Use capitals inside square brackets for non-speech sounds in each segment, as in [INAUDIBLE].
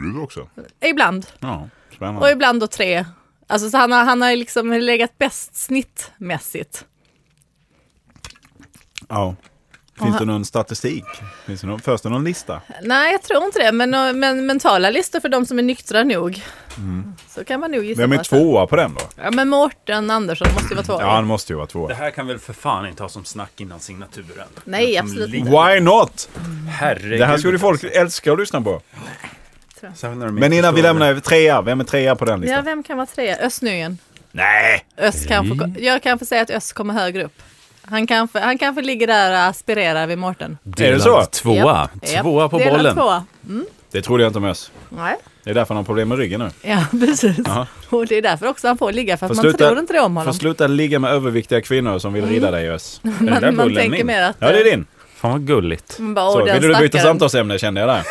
gjorde du också? Ibland. Ja, Och spännande. ibland då tre. Alltså så han har, han har ju liksom legat bäst snittmässigt. Ja. Finns det någon statistik? Finns det någon, förs det någon lista? Nej, jag tror inte det. Men, men mentala listor för de som är nyktra nog. Så kan man nog gissa. Mm. Vem är på. tvåa på den då? Ja, men Mårten Andersson måste ju vara tvåa. Ja, han måste ju vara tvåa. Det här kan väl för fan inte ha som snack innan signaturen? Nej, Som absolut liten- Why not? Herregud. Det här skulle folk älska att lyssna på. Sen när de Men inte innan vi förstår lämnar trea, vem är trea på den ja, listan? vem kan vara tre? Östnyen. Nej! Öst kanske, ko- jag kan få säga att Öst kommer högre upp. Han kanske, han kanske ligger där och aspirerar vid Mårten. Är det så? Tvåa. Japp. Tvåa på Delad bollen. Tvåa. Det trodde jag inte om Özz. Nej. Det är därför han har problem med ryggen nu. Ja, precis. Och det är därför också han får ligga, för att Får man sluta- tror inte det om Får honom. Mm. sluta ligga med överviktiga kvinnor som vill rida dig [LAUGHS] Özz. Är den Man- där man bullen tänker min? mer att- Ja, det är din. Fan vad gulligt. Man bara, Så, "Åh, den vill du byta stackaren." samtalsämne kände jag där.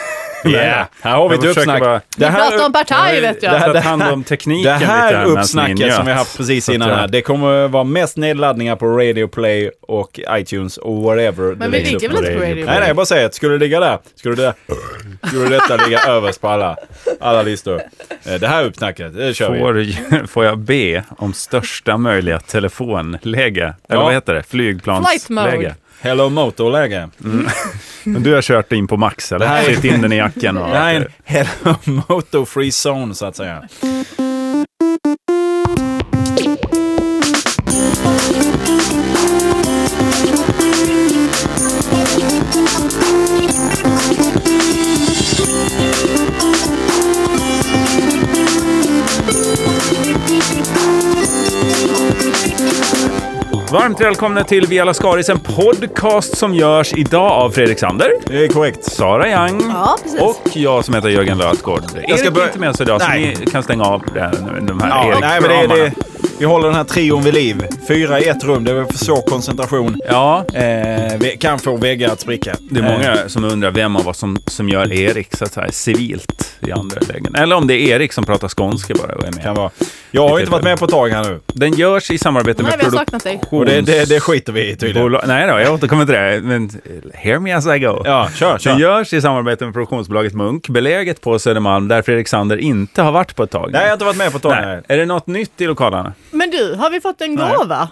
Ja. Här har vi ett Jag försöker uppsnack. bara- det Vi pratar om partaj vet jag. Det här, det det hand om tekniken Det lite här medan ni uppsnacket njöt. som vi har haft precis Så att innan jag- här, det kommer vara mest nedladdningar på Radio Play och iTunes och whatever. det vi läggs ligger upp väl inte på Radio Nej, Play? nej, jag bara säger att skulle det ligga där, skulle, det, skulle detta [LAUGHS] ligga överst på alla, alla listor. Eh, Det här uppsnacket, det kör vi. Får, [LAUGHS] får jag be om största möjliga telefonläge? Eller vad heter det? Flight mode. Flygplansläge. Hello Motor-läge. Men du har kört in på max Det eller? här är- Sytt in den i jackan. Och... Det här är en Hello Motor Free Zone så att säga. Varmt välkomna till Via Lascaris, en podcast som görs idag av Fredrik Sander, Det är korrekt. Sara Young Ja, precis. och jag som heter Jörgen Lötgård. Erik ska ska börja- är inte med oss idag, så Nej. ni kan stänga av det här- de här Ja, Erik nej, men det, det, vi håller den här trion vid liv. Fyra i ett rum, det är väl för svår koncentration. Ja, Eh, vi kan få väggar att spricka. det är många som undrar vem av oss som, som gör Erik så att säga, civilt i andra lägen. Eller om det är Erik som pratar skånska bara och är Kan med. vara. Jag har ju inte varit med på ett tag här nu. Den görs i samarbete Nej, med vi har saknat dig. Och det, det, det skiter vi i tydligen. Bolag- Nej då, jag återkommer till det. Men hear me as I go. Ja, kör, Den kör. görs i samarbete med produktionsbolaget Munk, beläget på Södermalm, där Fredrik Sander inte har varit på ett tag. Nej, jag har inte varit med på ett tag. Nej. Är det något nytt i lokalen? Men du, har vi fått en gåva?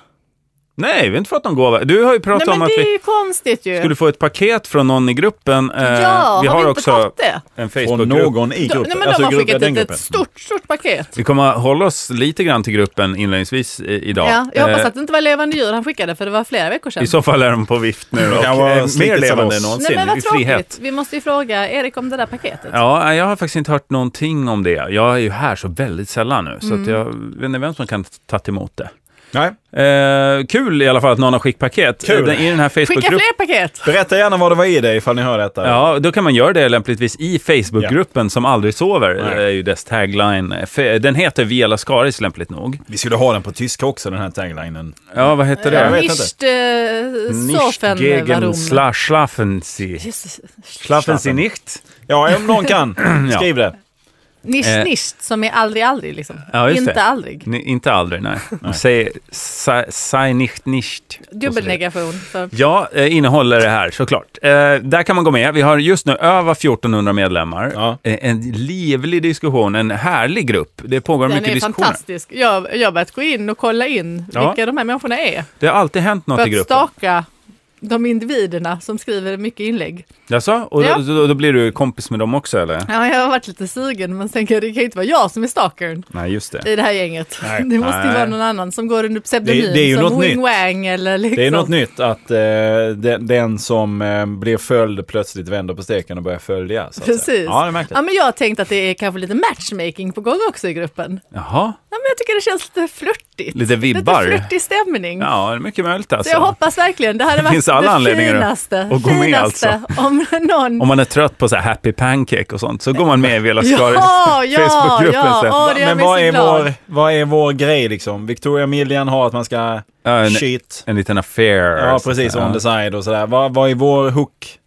Nej, vi har inte fått någon gåva. Du har ju pratat Nej, men om att det är vi ju konstigt ju. skulle få ett paket från någon i gruppen. Eh, Ja, vi har, har vi inte också Alltså, fått det? en Från Facebookgrupp. någon i De, gruppen. nej, men de har gruppen- skickat den ett, ett gruppen. stort, stort paket. Vi kommer att hålla oss lite grann till gruppen inledningsvis i, idag. Ja, jag hoppas Eh, att det inte var levande djur han skickade, för det var flera veckor sedan. I så fall är de på vift nu och kan vara eh, mer slitet som levande oss. än någonsin. nej, men i vad tråkigt. frihet. Vi måste ju fråga Erik om det där paketet. Ja, jag har faktiskt inte hört någonting om det. Jag är ju här så väldigt sällan nu, Mm. så att jag vet inte vem som kan ta emot det. Nej. Eh, kul i alla fall att någon har skickpaket Kul. Eh, I den här Skicka Facebookgruppen. fler paket! Berätta gärna vad det var i det ifall ni hör detta. Ja, då kan man göra det lämpligtvis i Facebookgruppen som aldrig sover. Nej. är ju dess tagline. F- Den heter Via Lascaris lämpligt nog. Vi skulle ha den på tyska också, den här taglinen. Ja, vad heter jag det? vet inte. Nicht äh, sofen gegen warum. sla, schlafensi. Jesus. Schlafensi nicht. Ja, om [CLEARS THROAT] någon kan. Ja. Skriv det. Eh. Nicht, nicht, som är aldrig, aldrig liksom. Ja, just inte det. aldrig. Ni, inte aldrig, nej. nej. Säg, sei, sei nicht nicht. Och så vidare. Dubbelnegation. För... Ja, eh, innehåller det här såklart. Eh, där kan man gå med. Vi har just nu över 1400 medlemmar. Ja. Eh, en livlig diskussion, en härlig grupp. Det pågår Den mycket är diskussioner. fantastisk. Jag, jag har börjat gå in och kolla in Ja. vilka de här människorna är. Det har alltid hänt något För i att gruppen. staka de individerna som skriver mycket inlägg. Jaså? Och Ja. då, då, då blir du kompis med dem också eller? Ja, jag har varit lite sugen men tänker jag, det kan ju inte vara jag som är stalkern Nej, just det. i det här gänget. [LAUGHS] Det måste ju Nej. vara någon annan som går under pseudonym Det- det är ju som något Wing nytt. Wang eller liksom. Det är något nytt att eh, den, den som eh, blir följd plötsligt vänder på steken och börjar följa. Så att Precis. Säga. Ja, det märkte Ja, jag. men jag har tänkt att det är kanske lite matchmaking på gång också i gruppen. Jaha. Ja, men jag tycker det känns lite flörtigt. Lite vibbar. Lite flörtig stämning. Ja, det är mycket möjligt Så alltså. jag hoppas verkligen, det hade Det varit finns alla det anledningar att- finaste, att gå med, alltså. finaste om [LAUGHS] någon Om man är trött på så här happy pancake och sånt så går man med i Vela [LAUGHS] Skaris Ja, ja, Facebookgruppen ja. sen. Åh, det gör Men mig vad så är, glad. vår, vad är vår grej liksom? Victoria Millian har att man ska Ja, en, shit. en liten affair. Ja, precis. On the side och sådär. Vad, vad är vår hook?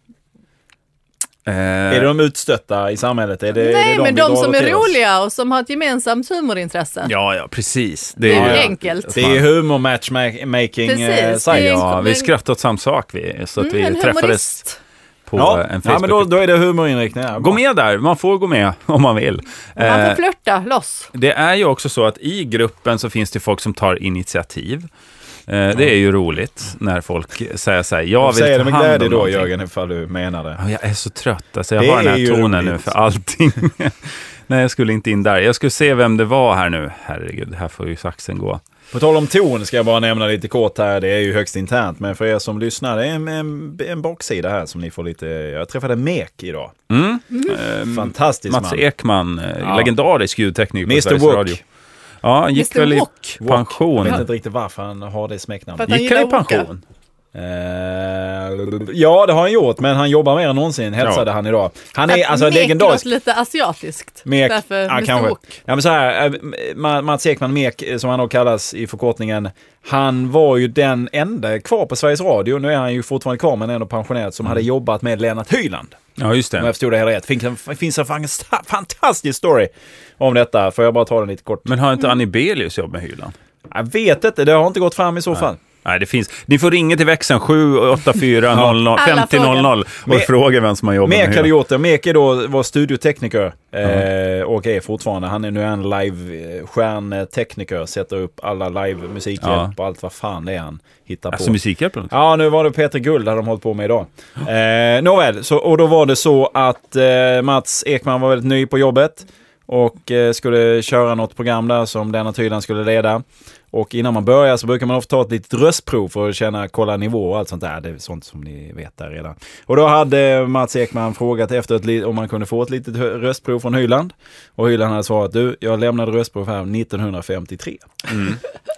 Är det Eh, de utstötta i samhället? Är det, är Nej, det men vi de drar som åt är till oss? roliga och som har ett gemensamt humorintresse. Ja, ja, precis. Det är Ja, ja. enkelt. Mm, Det är humor matchmaking eh, Precis, det är- science. Ja, Men- vi skrattar åt samma sak vi, så att Mm, vi träffades humorist. på ja. eh, en ja, men Facebook. då, då är det humorinriktning. Ja, Gå med där, man får gå med [LAUGHS] om man vill. Man Eh, får flörta loss. Det är ju också så att i gruppen så finns det folk som tar initiativ. Eh, Det är ju roligt när folk säger så här, jag vill Säg ta det med hand om glädje då någonting." Jörgen, ifall du menar det. Ja, Jag är så trött, alltså, jag Det har den är ju här tonen roligt. nu för allting. [LAUGHS] Nej, jag skulle inte in där. Jag skulle se vem det var här nu. Herregud, här får ju saxen gå. På tal om ton ska jag bara nämna lite kort här. Det är ju högst internt, men för er som lyssnar, det är en, en, en baksida här som ni får lite... Jag träffade Mek idag. Eh, Mm. Fantastisk Mats man. Ekman, eh, Ja. legendarisk ljudtekniker på Mr Sveriges Radio. Wok. Ja, han gick Mr. väl i Wok. Wok. Jag pension. vet inte riktigt varför han har det För smeknamnet. att han Gick han gillar i att åka. pension? Eh, ja, det har han gjort, men han jobbar mer än någonsin, hälsade Ja. han idag. Han är Att alltså mek legendarisk. låter lite asiatiskt. Mek, Därför ja, Mr. kanske. Wok. Ja, men så här, eh, Ma- Mats Ekman Mek, eh, som han då kallas i förkortningen, han var ju den enda kvar på Sveriges Radio, nu är han ju fortfarande kvar men ändå pensionerad, som hade jobbat med Lennart Hyland. Mm. Ja, just Om det. jag förstod det hela rätt. Finns en, finns en fanta- fantastisk story om detta, får jag bara ta den lite kort? Men har Mm. inte Annie Belius jobb med hyllan? Jag vet inte, det har inte gått fram i så fall. Nej, det finns. Ni får ringa till växeln [LAUGHS] 784 00 Alla 50 00 och Men- fråga vem som har jobbat med Mek hade hyran. gjort det. Mek är då var studiotekniker eh, och är fortfarande. Han är nu en live-stjärntekniker. Sätter upp alla live-musikhjälp Ja. och allt vad fan det är han hittar Alltså på. Musikhjälpen? Ja, nu var det Peter Guld hade de hållit på med idag. Eh, nåväl, så, och då var det så att eh, Mats Ekman var väldigt ny på jobbet och eh, skulle köra något program där som Lennart Hyland skulle leda. Och innan man börjar så brukar man ofta ta ett litet röstprov för att känna, kolla nivå och allt sånt där. Det är sånt som ni vet där redan. Och då hade Mats Ekman frågat efter ett, li- om man kunde få ett litet hö- röstprov från Hyland. Och Hyland hade svarat, du, jag lämnade röstprov här 1953.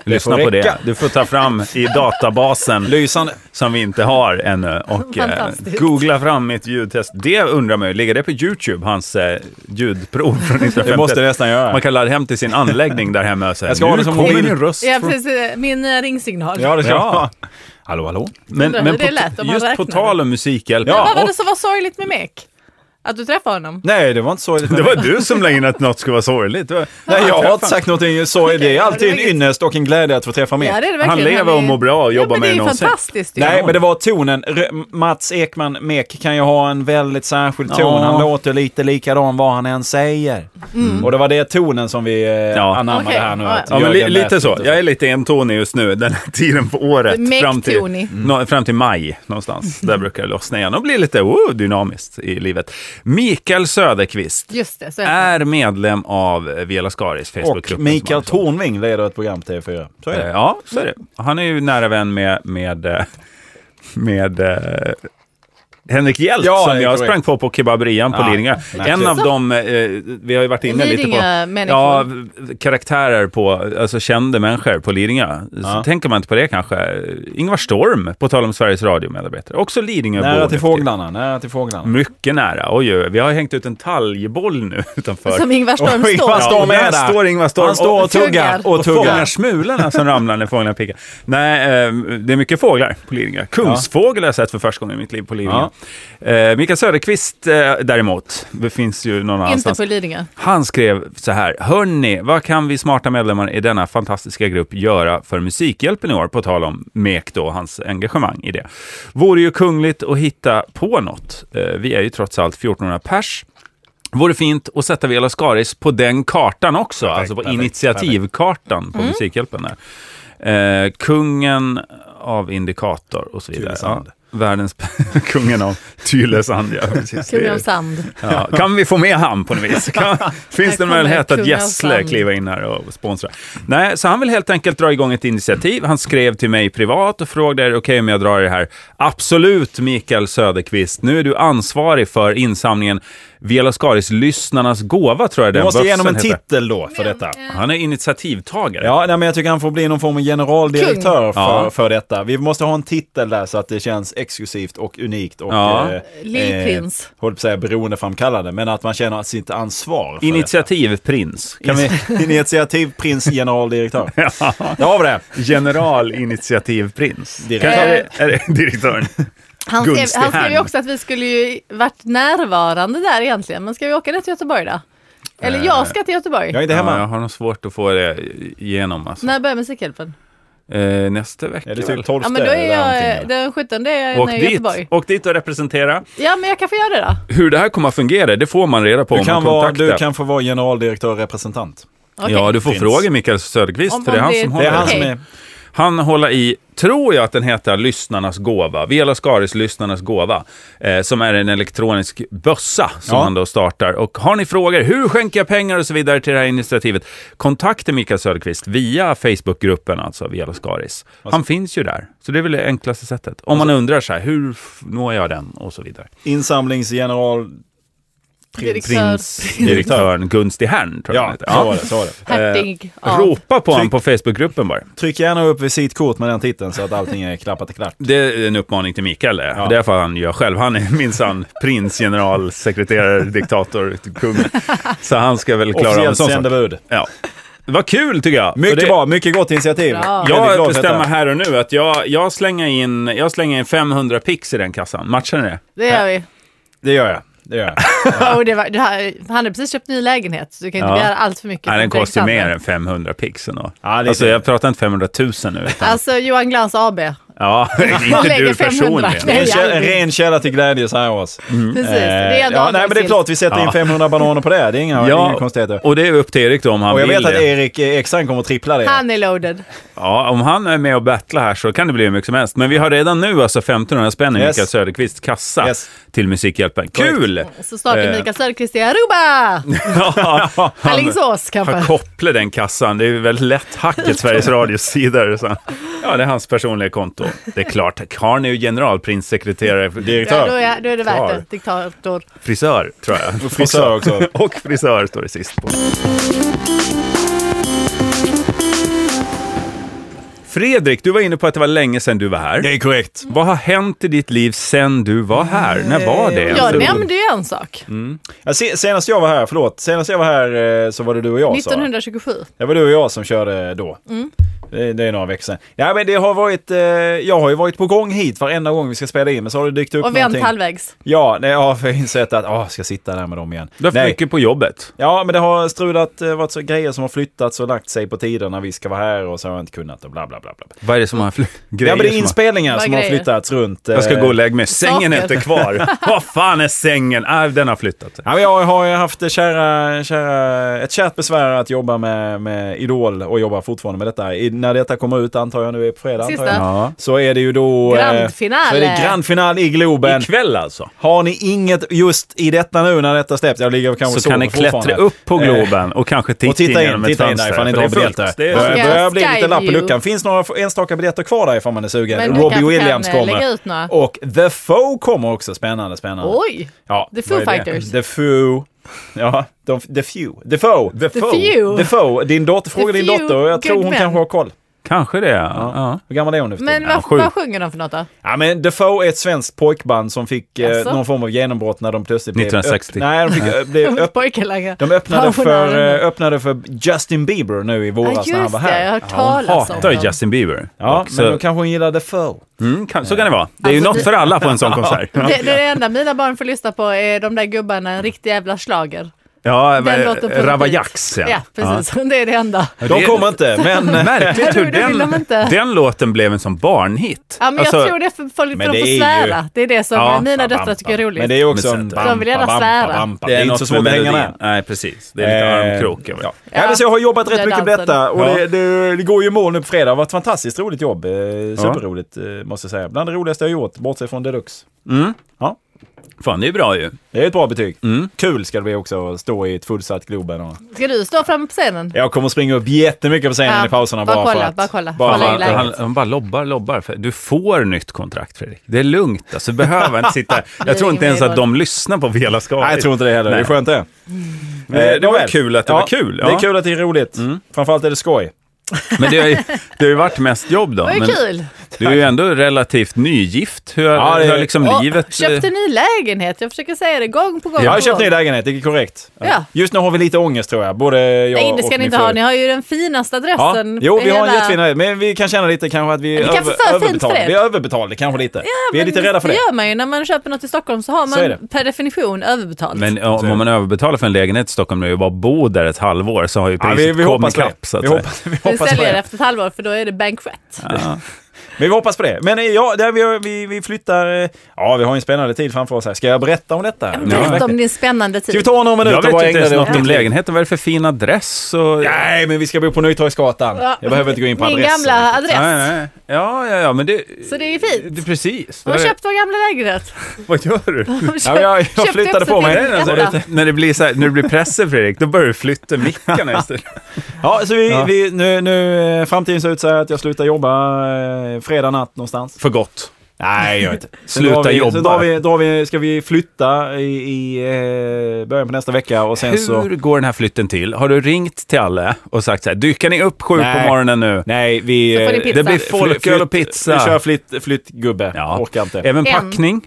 Lyssna får på det. räcka. Du får ta fram i databasen Lysande. som vi inte har ännu och eh, Fantastiskt. googla fram mitt ljudtest. Det undrar man ju, ligger det på YouTube, hans eh, ljudprov från 1950? Det måste det nästan göra. Man kan ladda hem till sin anläggning där hemma och säga, Jag ska ha det nu som kommer mobil." din röst. Ja, från-" precis. eh, Min eh, ringsignal. Ja, det ska Ja. [LAUGHS] ja. Hallå, hallå. Men, Undrar men hur på, det lät om man just på räknade. tal om musikhjälp. Ja, Vad var och- det som var sorgligt med Mek? Att du träffade honom? Nej, det var inte sorgligt. Det var du som lade in att något skulle vara sorgligt. Det var- Nej, jag har inte Träffa. sagt någonting så. Det är alltid en ynnest och en glädje att få träffa mer. Ja, det är det verkligen. Han lever och är- mår bra och Ja, jobbar men mer det är än ju någonsin. fantastiskt ju. Nej, men det var tonen. R- Mats Ekman Mek kan ju ha en väldigt särskild ton. Ja. Han låter lite likadan vad han än säger. Och det var det tonen som vi eh, Ja. anammade Okej, här nu. ja, att ja. Ja, men li Jörgen lät lite så. inte Jag är lite entonig just nu, den här tiden på året. Mäktig Fram till, Mm. Tony. nå- fram till maj någonstans. Mm. Där brukar det lossna igen och bli lite oh, dynamiskt i livet. Mikael Söderqvist Just det, så är det. är medlem av eh, Viola Skaris Facebookgrupp. Och Mikael Tornving leder ett program till TV4. Så är det. Eh, Ja, så är det. Han är ju nära vän med, med, eh, med eh, Henrik Hjelt Ja, det som är jag korrekt. sprang på på kebaberian på Ja, Lidingö. En märkligt. av de, eh, vi har ju varit inne lite på, Lidingö-människor. ja, karaktärer på, alltså kända människor på Lidingö. Så Ja. tänker man inte på det kanske. Ingvar Storm, på tal om Sveriges Radio-medarbetare, också Lidingöbo. Nära till nu för tiden. fåglarna. Nära till fåglarna. Mycket nära. Oj, oj, oj. vi har hängt ut en talgboll nu [LAUGHS] utanför. Som Ingvar Storm Och [LAUGHS] Ingvar står. Storm- och där där. står Ingvar Storm. Han står och tuggar. tuggar. Och Och fångar tuggar. smulorna som ramlar när fåglarna pickar. Nej, eh, det är mycket fåglar på Lidingö. Kungsfågel har jag sett för första gången i mitt liv på Lidingö. Eh, Mikael Söderqvist eh, däremot, det finns ju någon Inte annanstans. Alltså. på Lidingö. Han skrev så här, hörni, vad kan vi smarta medlemmar i denna fantastiska grupp göra för Musikhjälpen i år? På tal om Mek då, och hans engagemang i det. Vore ju kungligt att hitta på något. Eh, Vi är ju trots allt 1400 pers. Vore fint att sätta Viola Skaris på den kartan också, alltså på perfekt, initiativkartan på Musikhjälpen. Där. Eh, kungen av Indikator och så vidare. Ja, Tylösand. världens [LAUGHS] kungen av Tylösand, ja. [LAUGHS] precis. Det Kung är- om sand. Ja, kan vi få med han på något vis? Kan, finns det en kommer möjlighet kung att av Gessle sand. kliva in här och sponsra? Nej, så han vill helt enkelt dra igång ett initiativ. Han skrev till mig privat och frågade, är det okej om jag drar i det här? Absolut, Mikael Söderqvist. Nu är du ansvarig för insamlingen Viola Skaris Lyssnarnas gåva, tror jag Vi den måste ge honom en bussen heter. titel då för detta. Han är initiativtagare. Ja, nej, men jag tycker han får bli någon form av generaldirektör för, Ja. för detta. Vi måste ha en titel där så att det känns exklusivt och unikt och Ja. Lillprins. Eh, håller på att säga beroendeframkallande, men att man känner sitt ansvar. För Initiativprins. detta. Kan vi... Kan vi... Initiativ, prins, generaldirektör. [LAUGHS] ja. Då har vi det. Generalinitiativprins. Direkt. Eh. Kanske är det, är det direktören. Han skrev, Gunstig han skrev ju hand. också att vi skulle ju varit närvarande där egentligen. Men ska vi åka ner till Göteborg då? Eller Eh, jag ska till Göteborg. Jag är inte Ja, hemma. jag har nog svårt att få det igenom. Alltså. När börjar Musikhjälpen? eh, nästa vecka. Är det väl? typ 12 Ja, men då är eller jag, eh, någonting? den 17 är jag Åk nere i dit, Göteborg. åk dit och representera. Ja, men jag kan få göra det då. Hur det här kommer att fungera, det får man reda på Du om kan, man vara, kontaktar. du kan få vara generaldirektör och representant. Okej. Ja, du får Finns. fråga Mikael Söderqvist, Om- för det är om han det- som Det håller är han Okej. som är... Han håller i, tror jag att den heter, Lyssnarnas gåva. Vela Skaris Lyssnarnas gåva. Eh, som är en elektronisk bössa som Ja. han då startar. Och har ni frågor, hur skänker jag pengar och så vidare till det här initiativet? Kontakta Mikael Söderqvist via Facebookgruppen, alltså Vela Skaris. Alltså- Han finns ju där, så det är väl det enklaste sättet. Om man undrar så här, hur f- når jag den och så vidare. Insamlingsgeneral... Direktör. Direktören Gunsti Hern, tror jag han Ja, heter. så var det. Så var det. Hertig. Eh, Ja. Ropa på honom Tryck- på Facebookgruppen bara. Tryck gärna upp visitkort med den titeln så att allting är klappat och klart. Det är en uppmaning till Mikael det. Ja. Det är för han gör själv. Han är minsann prins, [LAUGHS] general, sekreterare, diktator, kung. Så han ska väl klara av en Officiellt sån sak. sändebud. Ja. Vad kul tycker jag! För Mycket det, bra, mycket gott initiativ. Bra. Väldigt glad för Jag detta. bestämmer här och nu att jag, jag, slänger in, jag slänger in 500 pix i den kassan. Matchar ni det? Det gör vi. Det gör jag. Det [LAUGHS] gör jag. [LAUGHS] Och det var, det här, han hade precis köpt ny lägenhet, så du kan inte Ja. begära allt för mycket. Nej, den från kostar ju mer Fredrikshamn. än 500 pix ändå. Ja, det är alltså, det. jag pratar inte 500 000 nu. Utan, Alltså, Johan Glans AB. ja, [LAUGHS] Man inte lägger du 500. personligen. Nej. En, källa, en aldrig. ren källa till glädje så här års. Precis, Eh, det är ändå ja, nej, men det är avdragsgillt. klart, vi sätter in Ja. 500 bananer på det. Det är inga, inga Ja, konstigheter. och det är upp till Erik då om han Och jag vill vet att det. Erik Ekstrand kommer att trippla det. Han är loaded. Ja, om han är med och battlar här så kan det bli hur mycket som helst. Men vi har redan nu alltså 1500 spänn i Yes. Mikael Söderqvists kassa Yes. till Musikhjälpen. Korrekt. [LAUGHS] Kul! Så startar Eh. Mikael Söderqvist i Aruba! Ja, han- Alingsås han kanske. kopplar den kassan. Det är ju väldigt lätt hacket Sveriges Radios [LAUGHS] sida. Så. Ja, det är hans personliga konto. Det är klart, karln är ju generalprinssekreterare, Ja, Direktör. då, är, då är det värt Klar. det. Diktator. frisör tror jag. Och frisör också. [LAUGHS] och frisör står det sist på. Fredrik, du var inne på att det var länge sedan du var här. Det är korrekt. Vad har hänt i ditt liv sen du var här? Eh, När var det? Jag nämnde ju en sak. Mm. Ja, se, senast jag var här, förlåt, senast jag var här eh, så var det du och jag Sara. 1927. Det var du och jag som körde då. Mm. Det, det är några veckor sedan. Ja, men det har varit, eh, jag har ju varit på gång hit varenda gång vi ska spela in, men så har det dykt upp Och vänt någonting. halvvägs. Ja, nej, jag har insett att, åh, ska jag sitta där med dem igen. Du har Nej. haft mycket på jobbet. Ja, men det har strulat, eh, varit så grejer som har flyttats och lagt sig på tider när vi ska vara här och så har jag inte kunnat och bla bla bla. bla. Vad är det som har fl- Ja, [LAUGHS] grejer men det är som har- inspelningar Vad som har grejer? flyttats runt. Jag ska eh, gå och lägga mig. Sängen är Saker. [LAUGHS] inte kvar. Vad fan är sängen? Ah, den har flyttat. sig. Ja, men jag har ju haft det kära, kära, ett kärt besvär att jobba med, med Idol och jobbar fortfarande med detta. I, när detta kommer ut, antar jag nu är på fredag, antar Sista. jag, Ja. så är det ju då... eh, Grand finale. Så är det grand final i Globen. Ikväll alltså. Har ni inget just i detta nu när detta släpps? Jag ligger kanske Så och kan sover ni klättra fortfarande. upp på Eh, Globen och kanske titta, Och titta in, genom ett titta in där fönster. ifall ni inte har för det är fullt. biljetter. Det Det är- Ja. börjar, börjar bli lite Skyview. lapp i luckan. Finns några f- enstaka biljetter kvar där ifall man är Men sugen. du Robbie kanske Williams kan, eh, lägga kommer. ut några. Och The Foe kommer också. Spännande, spännande. Oj! Ja, The Foo vad är det? Fighters. The Foo. Ja, de, The Few. The Foe. The, The Few. Foe. Din dotter, fråga The din Few dotter och jag tror hon Goodman. kanske har koll. Kanske det, ja. ja. Hur gammal är hon nu för tiden? Men Ja, vad, sjukt. vad sjunger de för något då? Ja, men The Foe är ett svenskt pojkband som fick eh, Jaså? någon form av genombrott när de plötsligt blev 1960. öpp- Nej, de fick, ö- [LAUGHS] blev öpp- Pojkelange. De öppnade för, Pensionären. eh, öppnade för Justin Bieber nu i Ja, våras när han just var det. Jag har här. hört Hon talas om hatar dem. Justin Bieber. Ja, Och men då så, kanske hon gillar The Foe. mm, kan, så kan det vara. Det är ju Alltså, något det- för alla på en [LAUGHS] sån konsert. Ja, Det, det enda mina barn får lyssna på är de där gubbarna, en riktig jävla schlager. ja Den låter på Ravajax. Ja, precis. Det är det enda. De kommer [LAUGHS] inte, [LAUGHS] men... Märkligt hur Det vill de den, inte. den låten blev en sån barnhit. Ja, men jag Alltså, tror det är för folk för men de det får är ju- svära. Det är det som Ja, mina bam, döttrar tycker är roligt. Men det är också Men en... sen- De vill gärna bam, svära. bam, bam, bam. Det är inte något så med svårt att hänga melodin. med. Nej, precis. Det är lite Eh, armkrok över det. Ja, men så jag har jobbat rätt Där mycket med dansade detta och Ja. det, det, det går ju i mål nu på fredag. Det har varit ett fantastiskt roligt jobb. Eh, Superroligt eh, måste jag säga. Bland det roligaste jag gjort, bortsett från Deluxe. Fan, det är bra ju. Det är ett bra betyg. Mm. Kul ska det bli också att stå i ett fullsatt Globen. Och... Ska du stå framme på scenen? Jag kommer springa upp jättemycket på scenen Ja, i pauserna bara bara, kolla, för att... bara kolla. Bara, Kolla i Han, läget. han, han bara lobbar, lobbar. För Du får nytt kontrakt, Fredrik. Det är lugnt. Alltså, du behöver inte [LAUGHS] sitta... Jag tror inte ens att de lyssnar på Vela Skaris. Nej, jag tror inte det heller. Det Nej. Eh, är skönt det. det var nåväl. kul att det var kul, ja. Mm. Det är kul att det är roligt. Framförallt är det skoj. Men det har, ju, det har ju varit mest jobb då. Det var Men ju kul! du är ju ändå relativt nygift. Hur har, Ja, det- hur har liksom Och livet... Köpte ny lägenhet, jag försöker säga det gång på gång. eh. Jag har på köpt gång. ny lägenhet, det är korrekt. Ja. Just nu har vi lite ångest tror jag. Både jag Nej, det ska och ni min inte fru. ha. Ni har ju den finaste Ja. adressen. Jo, i vi har en hela- jättefin lägenhet, men vi kan känna lite kanske att vi är det kanske över, är för fint för överbetalade. er. Vi är överbetalade kanske lite. vi är Men lite rädda för det. Det gör man ju. När man köper något i Stockholm så har Så är man det. per definition överbetalt. Men om man överbetalar för en lägenhet i Stockholm nu och bara bor där ett halvår så har ju Ja, priset vi, vi kommit hoppas det. ikapp. Så att vi säga. hoppas, vi hoppas hoppas på säljer det. efter ett halvår för då är det bankett. Ja. Men vi hoppas på det. Men eh, ja, där vi, vi, vi flyttar... eh, Ja, vi har ju en spännande tid framför oss här. Ska jag berätta om detta? Berätta om din spännande Ska vi tid. ta några Jag minuter och vet bara inte ägna ens det åt något om mitt liv? lägenheten. Vad är det för fin adress? Och... Nej, men vi ska bo på Nytorgsgatan. Ja. Jag behöver inte gå in på Min adressen. gamla adress. Nej, nej. Ja, ja, ja, men det... Så det är ju fint. Det, precis. De har Vad- köpt vår gamla [LAUGHS] lägenhet. Vad gör du? De Ja, men jag, köpte jag också flyttade på till mig. din Och gamla. det- när, det blir så här, när det blir pressen Fredrik, då börjar du [LAUGHS] flytta mickarna istället. Ja, så vi, Ja. vi, nu, nu, eh, framtiden ser ut så här att jag slutar jobba eh, fredag natt någonstans. För gott. Nej, jag inte. Sluta drar vi, [LAUGHS] jobba. Så drar vi, drar vi, ska vi flytta i, i eh, början på nästa vecka och sen Hur så... går den här flytten till? Har du ringt till alla och sagt så här, dyker ni upp sju Nej. på morgonen nu? Nej, vi... Så får ni eh, pizza. Det blir Fly- folköl och flytt- pizza. Vi kör flytt, flyttgubbe. Ja. Orkar inte. Även En. packning.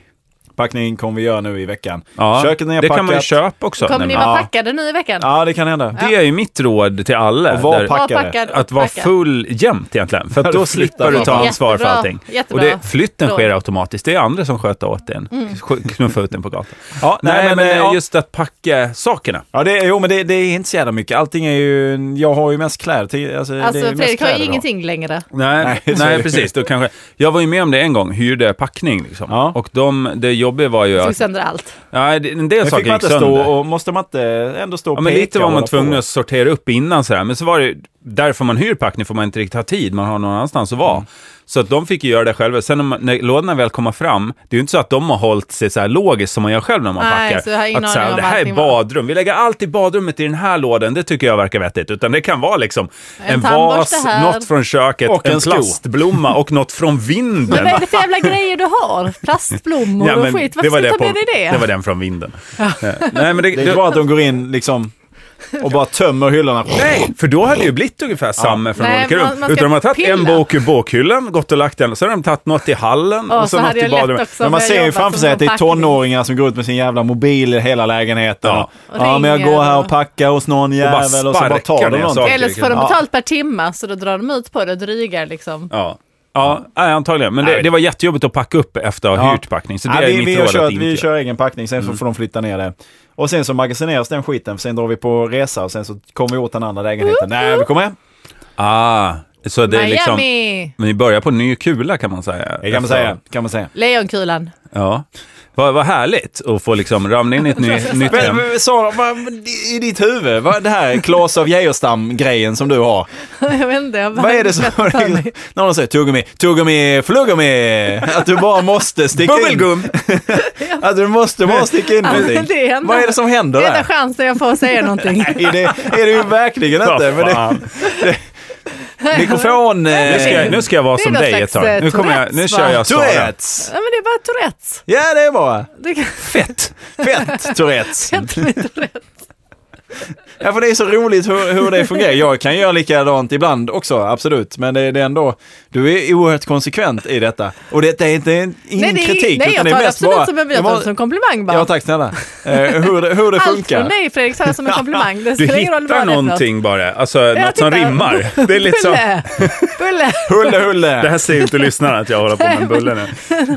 Packning kommer vi göra nu i veckan. Ja. Köket är det kan man ju packat. köpa också. Kommer ni nämligen. vara Ja. packade nu i veckan? Ja, det kan hända. Det är ju mitt råd till alla. Och var där- packad. Var packade. packad och att vara packad. full jämt egentligen. För att Ja, då det slipper flyttar du ta man. ansvar för Jättebra. allting. Jättebra. Och det, flytten Råd. sker automatiskt. Det är andra som sköter åt en. Sk- Knuffa ut den på gatan. Ja, Nej, men, Mm. eh, ja. just att packa sakerna. Ja, det, jo, men det, det är inte så jävla mycket. Allting är ju... Jag har ju mest kläder. Till, alltså, det är Alltså mest Fredrik har ju kläder då. ingenting längre. Nej, Nej, nej, så är det. precis. Då kanske, jag var ju med om det en gång, hyrde packning. Liksom. Ja. Och de, det jobbiga var ju Tog att... sönder allt. Nej, det- en del Men saker fick man gick inte sönder. stå och, måste man inte ändå stå och Ja, men peka lite var och man hålla tvungen på? att sortera upp innan sådär. Men så var det ju- därför man hyr packning får man inte riktigt ha tid, man har någon annanstans att vara. Mm. Så att de fick ju göra det själva. Sen när, man, när lådorna väl kommer fram, det är ju inte så att de har hållit sig så här logiskt som man gör själv när man Nej, packar. så jag har ingen att så här, aning om det här är allting var. badrum, vi lägger allt i badrummet i den här lådan, det tycker jag verkar vettigt. Utan det kan vara liksom en, En tandborste vas, här. något från köket, Och en, en sko. plastblomma och något från [LAUGHS] Men vinden. vad är det för jävla grejer du har? Plastblommor Ja, men och skit. Varför ska du ta med dig det? det var den från vinden. Eh, Nej, men det, Det är det- inte bara att de går in liksom och bara tömmer hyllorna. [LAUGHS] Nej, för då hade det ju blivit ungefär samma från Nej, olika man- rum. man ska Utan de har tagit en pilla. bok ur bokhyllan, gått och lagt den, och så har de tagit något i hallen Åh, och så, så något hade i jag lätt badrummet. också. Men man Jag ser ju jobbar framför som sig att det är kompakting. tonåringar som går ut med sin jävla mobil i hela lägenheten. Ja. Ja, Och ja men jag ringer går här och och- packar hos någon bara jävel och så bara sparkar tar ner de saker. någonting. Eller så får de Ja. betalt per timme så då drar de ut på det och drygar liksom. Ja. Ja, nej, antagligen. Men det, Nej. det var jättejobbigt att packa upp efter att ha Ja. hyrt packning. Så det Ja, är vi, mitt vi, råd har kört, att inte vi göra. Mm. kör egen packning, sen så får de flytta ner det. Och sen så magasineras den skiten, sen drar vi på resa och sen så kommer vi åt den andra lägenheten. Nej, vi kommer hem. Ah, så det är liksom... Miami! Men ni börjar på ny kula kan man säga. Det kan man säga. Kan man säga. Lejonkulan. [LAUGHS] Ja. Vad, vad härligt att få liksom ramla in i [LAUGHS] ett ny, nytt Men, hem. men Sara, vad, i ditt huvud, vad, det här Klas av Geijerstam-grejen som du har. jag vet inte. Jag Vad är det som... [LAUGHS] När de säger tuggummi, tuggummi, fluggummi. Att du bara måste sticka in. Bubbelgum! Att du måste bara sticka in Ja, men någonting. det är ändå- Vad är det som händer Det är enda där? chansen jag får att säga någonting. Nej, det är det ju verkligen inte. Men det, mikrofon... Nu ska, jag- Eh, nu ska jag vara Det är som någon dig ett slags, tag. eh, Nu, kommer jag, nu Tourettes, kör va? jag Sara. Tourettes! Ja, men det är bara Tourettes. Ja, det är bra. Det kan Fett! Fett [LAUGHS] Tourettes. jag inte med Tourettes. Ja, för det är så roligt hur, hur det fungerar. Jag kan göra likadant ibland också, absolut. Men det, det är ändå, du är oerhört konsekvent i detta. Och detta är inte en, ingen det är- kritik, nej, jag utan det tar är det mest absolut bara... som en jag jag tar det som komplimang bara. Ja, tack snälla. Eh, hur det, hur det Allt funkar. från dig Fredrik tar jag som en komplimang. Det Du spelar ingen roll vad det är hittar för något. någonting bara, alltså Ja, något som titta. rimmar. Det är lite som... Bulle! Bulle! Hulle, hulle. Det här ser inte lyssnarna att jag håller på med en [LAUGHS] bulle nu.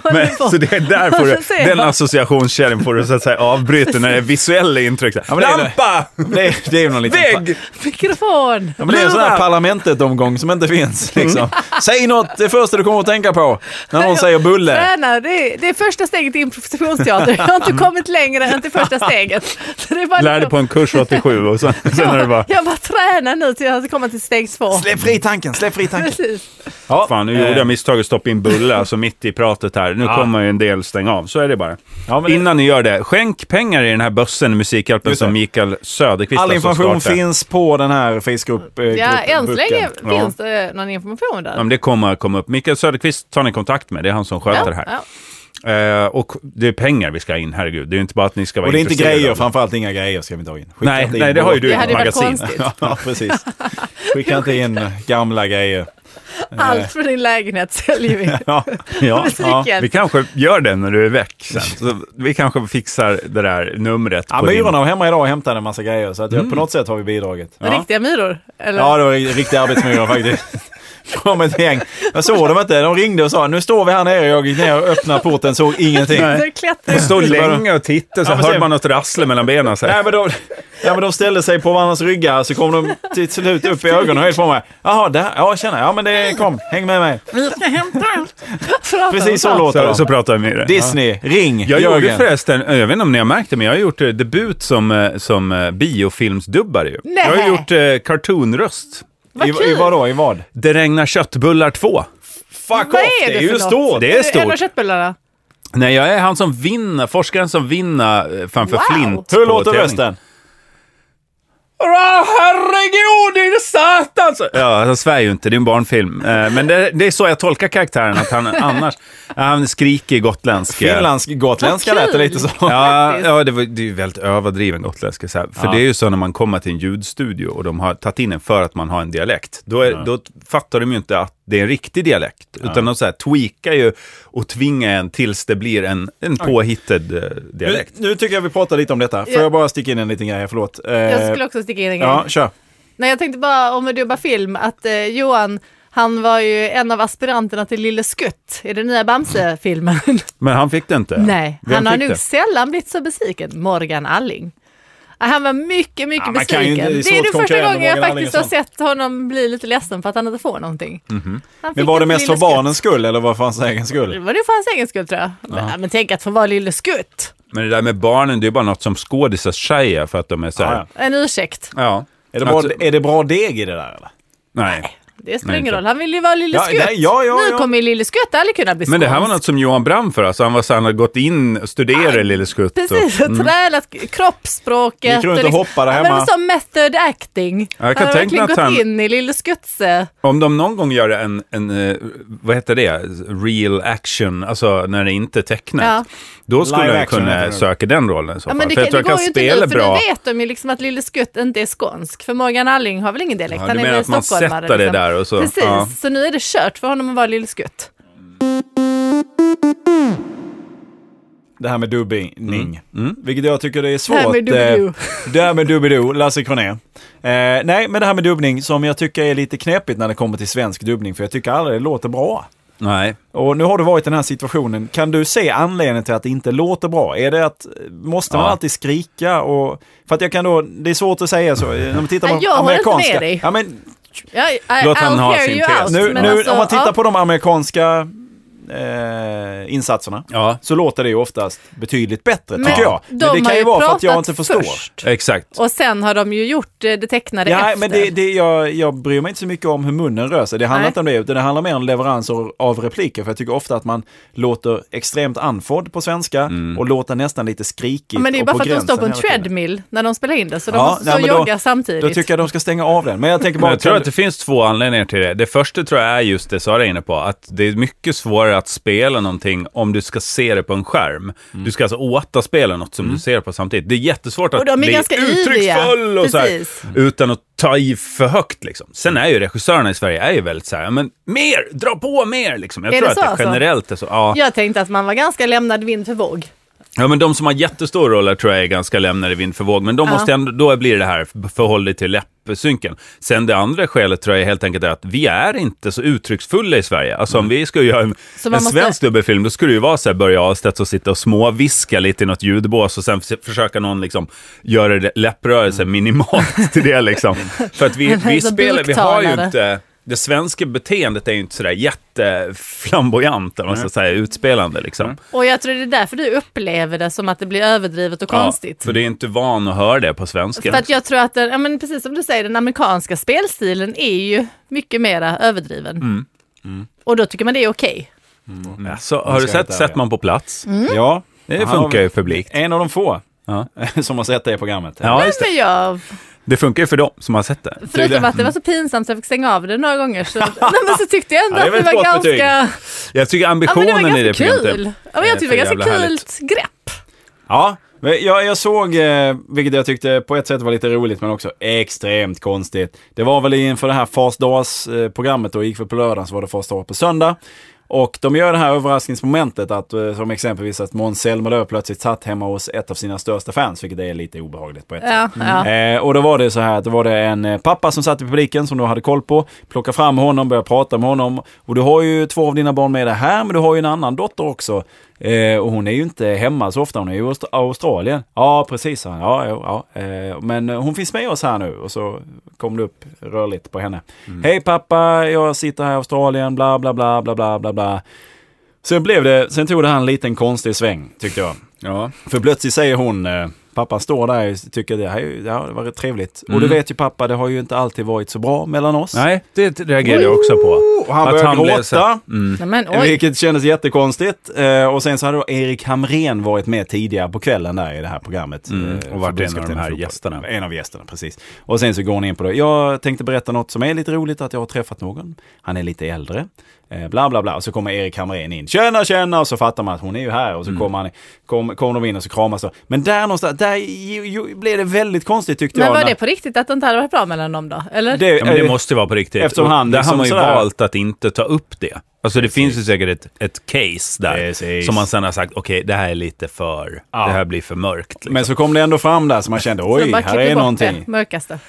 Men, på. så det är där får Jag du, ser. den associationskällan får du så att säga avbryta när det är visuella intryck. så här. Ja, men det är det. Lampa! Det är, det är ju någon liten... pa- Vägg! Mikrofon! Ja, men det är en sån här Lura. parlamentet-omgång som inte finns. Mm. Liksom. Säg något, det första du kommer att tänka på när någon säger bulle. Träna, det, är, det är första steget i improvisationsteater. Jag har inte kommit längre än till första steget. Så det är bara liksom- Lärde på en kurs [LAUGHS] 87 och sen, sen är det bara, Jag bara tränar nu till att komma till steg två. Släpp fri tanken, släpp fri tanken. Precis. Ja, fan nu eh, gjorde jag misstaget att stoppa in bulle, alltså mitt i pratet här. Nu Ja. kommer ju en del stänga av, så är det bara. Ja, men det- Innan ni gör det, skänk pengar i den här bössen Musikhjälpen Just det. som Mikael Söderqvist All alltså information startar. finns på den här Facebookgruppen. Ja, än så länge boken. Ja. finns det eh, någon information där. Ja, men det kommer komma upp. Mikael Söderqvist tar ni kontakt med, det är han som sköter det här. Ja. Eh, och det är pengar vi ska ha in, herregud. Det är ju inte bara att ni ska vara Och det är inte intresserade grejer, av det. framförallt inga grejer ska vi inte ha in. Skicka Nej, inte in nej, det har ju vår- du i Det hade ditt ju varit magasin. [LAUGHS] konstigt. Ja, precis. Skicka inte in gamla grejer. [LAUGHS] Allt från din lägenhet säljer vi. Ja, [LAUGHS] Ja, Musikhjälpen. Vi kanske gör det när du är väck sen. Så vi kanske fixar det där numret. ja på din- myrorna var hemma idag och hämtade en massa grejer, så att jag, på något sätt har vi bidragit. Med Riktiga myror? Eller? Mm. Ja, det var riktiga arbetsmyror [LAUGHS] faktiskt. kom ett gäng. Jag såg dem inte. De ringde och sa nu står vi här nere. Jag gick ner och öppnade porten, såg ingenting. [LAUGHS] Nej. det klättrar. [LAUGHS] Stå länge och titta så Ja, men hör sen- man något rassel mellan benen. Så här. Nej, men då, Ja, men de ställde sig på varandras ryggar så kom de till slut upp i ögonhöjd på mig. Jaha, där, ja tjena, ja men det kom, häng med mig. Vi ska hämta allt. Pratar Precis så om allt. låter Så, så de. pratar vi med det. Disney, ring Jag gjorde Jörgen. förresten, eh, jag vet inte om ni har märkt det, men jag har gjort eh, debut som, eh, som eh, biofilmsdubbare ju. Nej. Jag har gjort eh, cartoonröst. Vad I, I kul. vad då, i vad? Det regnar köttbullar 2. Fuck Vad off, är det det är för ju något? stort. Det är En av stort. köttbullarna. Nej, jag är han som vinner, forskaren som vinner eh, framför Wow. Flint. Hur på låter tävling. rösten? Åh, herregud, det är satans! Ja, han svär ju inte, det är en barnfilm. Eh, Men det, det är så jag tolkar karaktären, att han annars... Han skriker gotländska. Finländsk, gotländska Vad lät det kul. lite som. Ja, Faktiskt. ja det, var, det är ju väldigt överdriven gotländska. Så här. För Ja. det är ju så när man kommer till en ljudstudio och de har tagit in en för att man har en dialekt. Då, är, då fattar de ju inte att det är en riktig dialekt. Utan de så här, tweakar ju och tvingar en tills det blir en, en påhittad eh, Nu, dialekt. nu tycker jag vi pratar lite om detta. Får Ja. jag bara sticka in en liten grej, här, förlåt. Eh, Jag skulle också sticka in en grej. Ja, kör. Nej, jag tänkte bara om att dubba film, att eh, Johan, han var ju en av aspiranterna till Lille Skutt i den [LAUGHS] nya Bamse-filmen. Men han fick det inte. Nej, Vem han har fick nog det? sällan blivit så besviken. Morgan Alling. Ah, Han var mycket, mycket Ja, man kan ju besviken. inte- det är svårt det är att nog första konkurrera med gången jag Morgan faktiskt har Alling och sett honom bli lite ledsen för att han inte får någonting. Han Mhm. Men fick var det inte mest för Lille Skutt. barnens skull eller var det för hans egen Det skull? var nog för hans egen skull tror jag. Men, ja, men tänk att få vara Lille Skutt. Men det där med barnen, det är bara något som skådisar säger för att de är så här. Ja, En ursäkt. Ja. Är det, bra, Alltså, är det bra deg i det där eller? nej. Det spelar Nej, ingen inte. roll, han vill ju vara Lille Ja, Skutt. nej, ja, ja, nu ja. kommer ju Lille Skutt aldrig kunna bli Men det här var skånsk. något som Johan Brann för, alltså han var så han hade gått in och studerat i Lille Skutt. och- Precis, och trälat kroppsspråket. mm. liksom- Gick runt och hoppade Ja, hemma. Men det var som method acting. Ja, jag kan han har verkligen tänka mig att gått han- in i Lille Skutse. Om de någon gång gör en, en, eh, vad heter det, real action, alltså när det inte är tecknat, Ja. då skulle Live jag action heter kunna det. söka den rollen i så Ja, fall. men det, för jag det tror jag går kan ju inte nu, spela för bra. nu vet de ju liksom att Lille Skutt inte är skånsk. För Morgan Alling har väl ingen dialekt, Ja, han du är menar väl att man stockholmare. liksom. sätter det där och så- Precis, ja. så nu är det kört för honom att vara Lille Skutt. Det här med dubbning. Mm. Vilket jag tycker det är svårt. Det här med dubbidoo. eh, Det här med dubbidoo, Lasse Kronér. Eh, nej, men det här med dubbning som jag tycker är lite knepigt när det kommer till svensk dubbning. För jag tycker aldrig det låter bra. Nej. Och nu har du varit i den här situationen. Kan du se anledningen till att det inte låter bra? Är det att, måste man Ja. alltid skrika? Och, för att jag kan då, det är svårt att säga så. eh, När man tittar på Nej, jag håller inte med amerikanska. dig. Ja, men Ja, I, Låt I'll han ha hear sin you tes. out. nu, men nu alltså, om man tittar ja. på de amerikanska eh, insatserna. Ja, så låter det ju oftast betydligt bättre, Men tycker jag. de Men det har kan ju ju vara för att jag pratat inte förstår. först. exakt. Och sen har de ju gjort eh, det tecknade Ja, efter. men det, det, jag, jag bryr mig inte så mycket om hur munnen rör sig. Det handlar Nej. inte om det, utan det handlar mer om leveranser av repliker. För jag tycker ofta att man låter extremt andfådd på svenska Mm. och låter nästan lite skrikigt. Ja, men det är ju och bara för att de gränsen står på en hela tiden. treadmill när de spelar in det, så de Ja, måste nej, stå och men då- jogga samtidigt. Då tycker jag de ska stänga av den. Men jag tänker Men bara... [LAUGHS] jag tror att det finns två anledningar till det. Det första tror jag är just det Sara är inne på, att det är mycket svårare att spela någonting om du ska se det på en skärm. Du ska alltså återspela något som du ser på samtidigt. Det är jättesvårt att Mm. Och de är bli ganska uttrycksfull yviga. och så här, Mm. Precis. utan att ta i för högt. Liksom. Sen är ju regissörerna i Sverige är ju väldigt så här, men mer, dra på mer! Liksom. Jag Är tror det att så det alltså? generellt är så. Ja. Jag tänkte att man var ganska lämnad vind för våg. ja, men de som har jättestora roller tror jag är ganska lämnade vind för våg, men de Ja. måste ändå, då blir det här förhåll dig till läppsynken. Sen det andra skälet tror jag helt enkelt är att vi är inte så uttrycksfulla i Sverige. Alltså om vi ska göra en, Mm. Så en man måste- svensk dubbelfilm, då skulle det ju vara så här Börje Ahlstedt som sitter och småviska lite i något ljudbås och sen förs- försöka någon liksom göra det- läpprörelse Mm. minimalt till [LAUGHS] det liksom. För att vi, Eller vi så spelar, vi har ju buktalare. inte det svenska beteendet är ju inte sådär jätteflamboyant, eller vad man ska säga, utspelande liksom. Och jag tror det är därför du upplever det som att det blir överdrivet och konstigt. för det är inte van att höra det på svenska. För att jag tror att, den, ja, men precis som du säger, den amerikanska spelstilen är ju mycket mera överdriven. Och då tycker man det är okej. Alltså, har ska du jag sett inte Sätt ärliga. man på plats? Mm. Mm. Ja. Det Han funkar har- ju publikt. En av de få Ja. [LAUGHS] som har sett det i programmet. Ja, Nej, just det. men jag, det funkar ju för dem som har sett det. förutom att det var så pinsamt så jag fick stänga av det några gånger, så, nej, men så tyckte jag ändå Ja, det är att det väl ett var gott betyg. ganska, Jag tycker ja, men det ambitionen var i det ganska programmet kul. Ja, men är jag tyckte det var för ganska jävla kul härligt. grepp. Ja, men jag, jag såg, eh, vilket jag tyckte på ett sätt var lite roligt men också extremt eh, konstigt. Det var väl inför det här Fars Dags-programmet då, gick för på lördagen så var det Fars Dag på söndag. Och de gör det här överraskningsmomentet att eh, som exempelvis att Måns Zelmerlöw plötsligt satt hemma hos ett av sina största fans, vilket är lite obehagligt på ett Ja, ja. Eh, och då var det så här att det var det en eh, pappa som satt i publiken som du hade koll på, plockade fram honom, började prata med honom. Och du har ju två av dina barn med dig här, men du har ju en annan dotter också. Eh, och hon är ju inte hemma så ofta, hon är ju i Austra- Australien. Ja, precis, sa han. Ja, ja, ja. Eh, men eh, hon finns med oss här nu. Och så kom det upp rörligt på henne. Hej pappa, jag sitter här i Australien, bla bla bla bla bla bla bla. Sen blev det, sen tog det här en liten konstig sväng, tyckte jag. Ja. För plötsligt säger hon, eh, pappa står där och tycker det här är ju- ja, det var rätt trevligt. Och du vet ju pappa, det har ju inte alltid varit så bra mellan oss. Mm. Nej, det reagerar jag också på. Och han började blev så- gråta, Nej, men oj. vilket kändes jättekonstigt. Eh, och sen så hade då Erik Hamrén varit med tidigare på kvällen där i det här programmet. Mm, Eh, och varit en av de här Förbundskapten i gästerna. En av gästerna, precis. Och sen så går hon in på det. Jag tänkte berätta något som är lite roligt, att jag har träffat någon. Han är lite äldre. Eh, bla bla bla. Och så kommer Erik Hamrén in. Tjena tjena! Och så fattar man att hon är ju här. Mm. Och så kommer han, kom, kom de in och så kramas de. Men där någonstans, där ju, ju, blev det väldigt konstigt tyckte Men jag. var när- det på riktigt att det inte hade varit bra mellan dem då? Eller? det, Ja, men det eh, måste ju vara på riktigt. Eftersom han Och där har liksom man ju sådär- valt att inte ta upp det. Alltså det finns ju säkert ett, ett case där Precis. som man sen har sagt, okej, det här är lite för, Ja. det här blir för mörkt. Liksom. Men så kom det ändå fram där så man kände Så de oj, bara här klipper är bort någonting. Det mörkaste.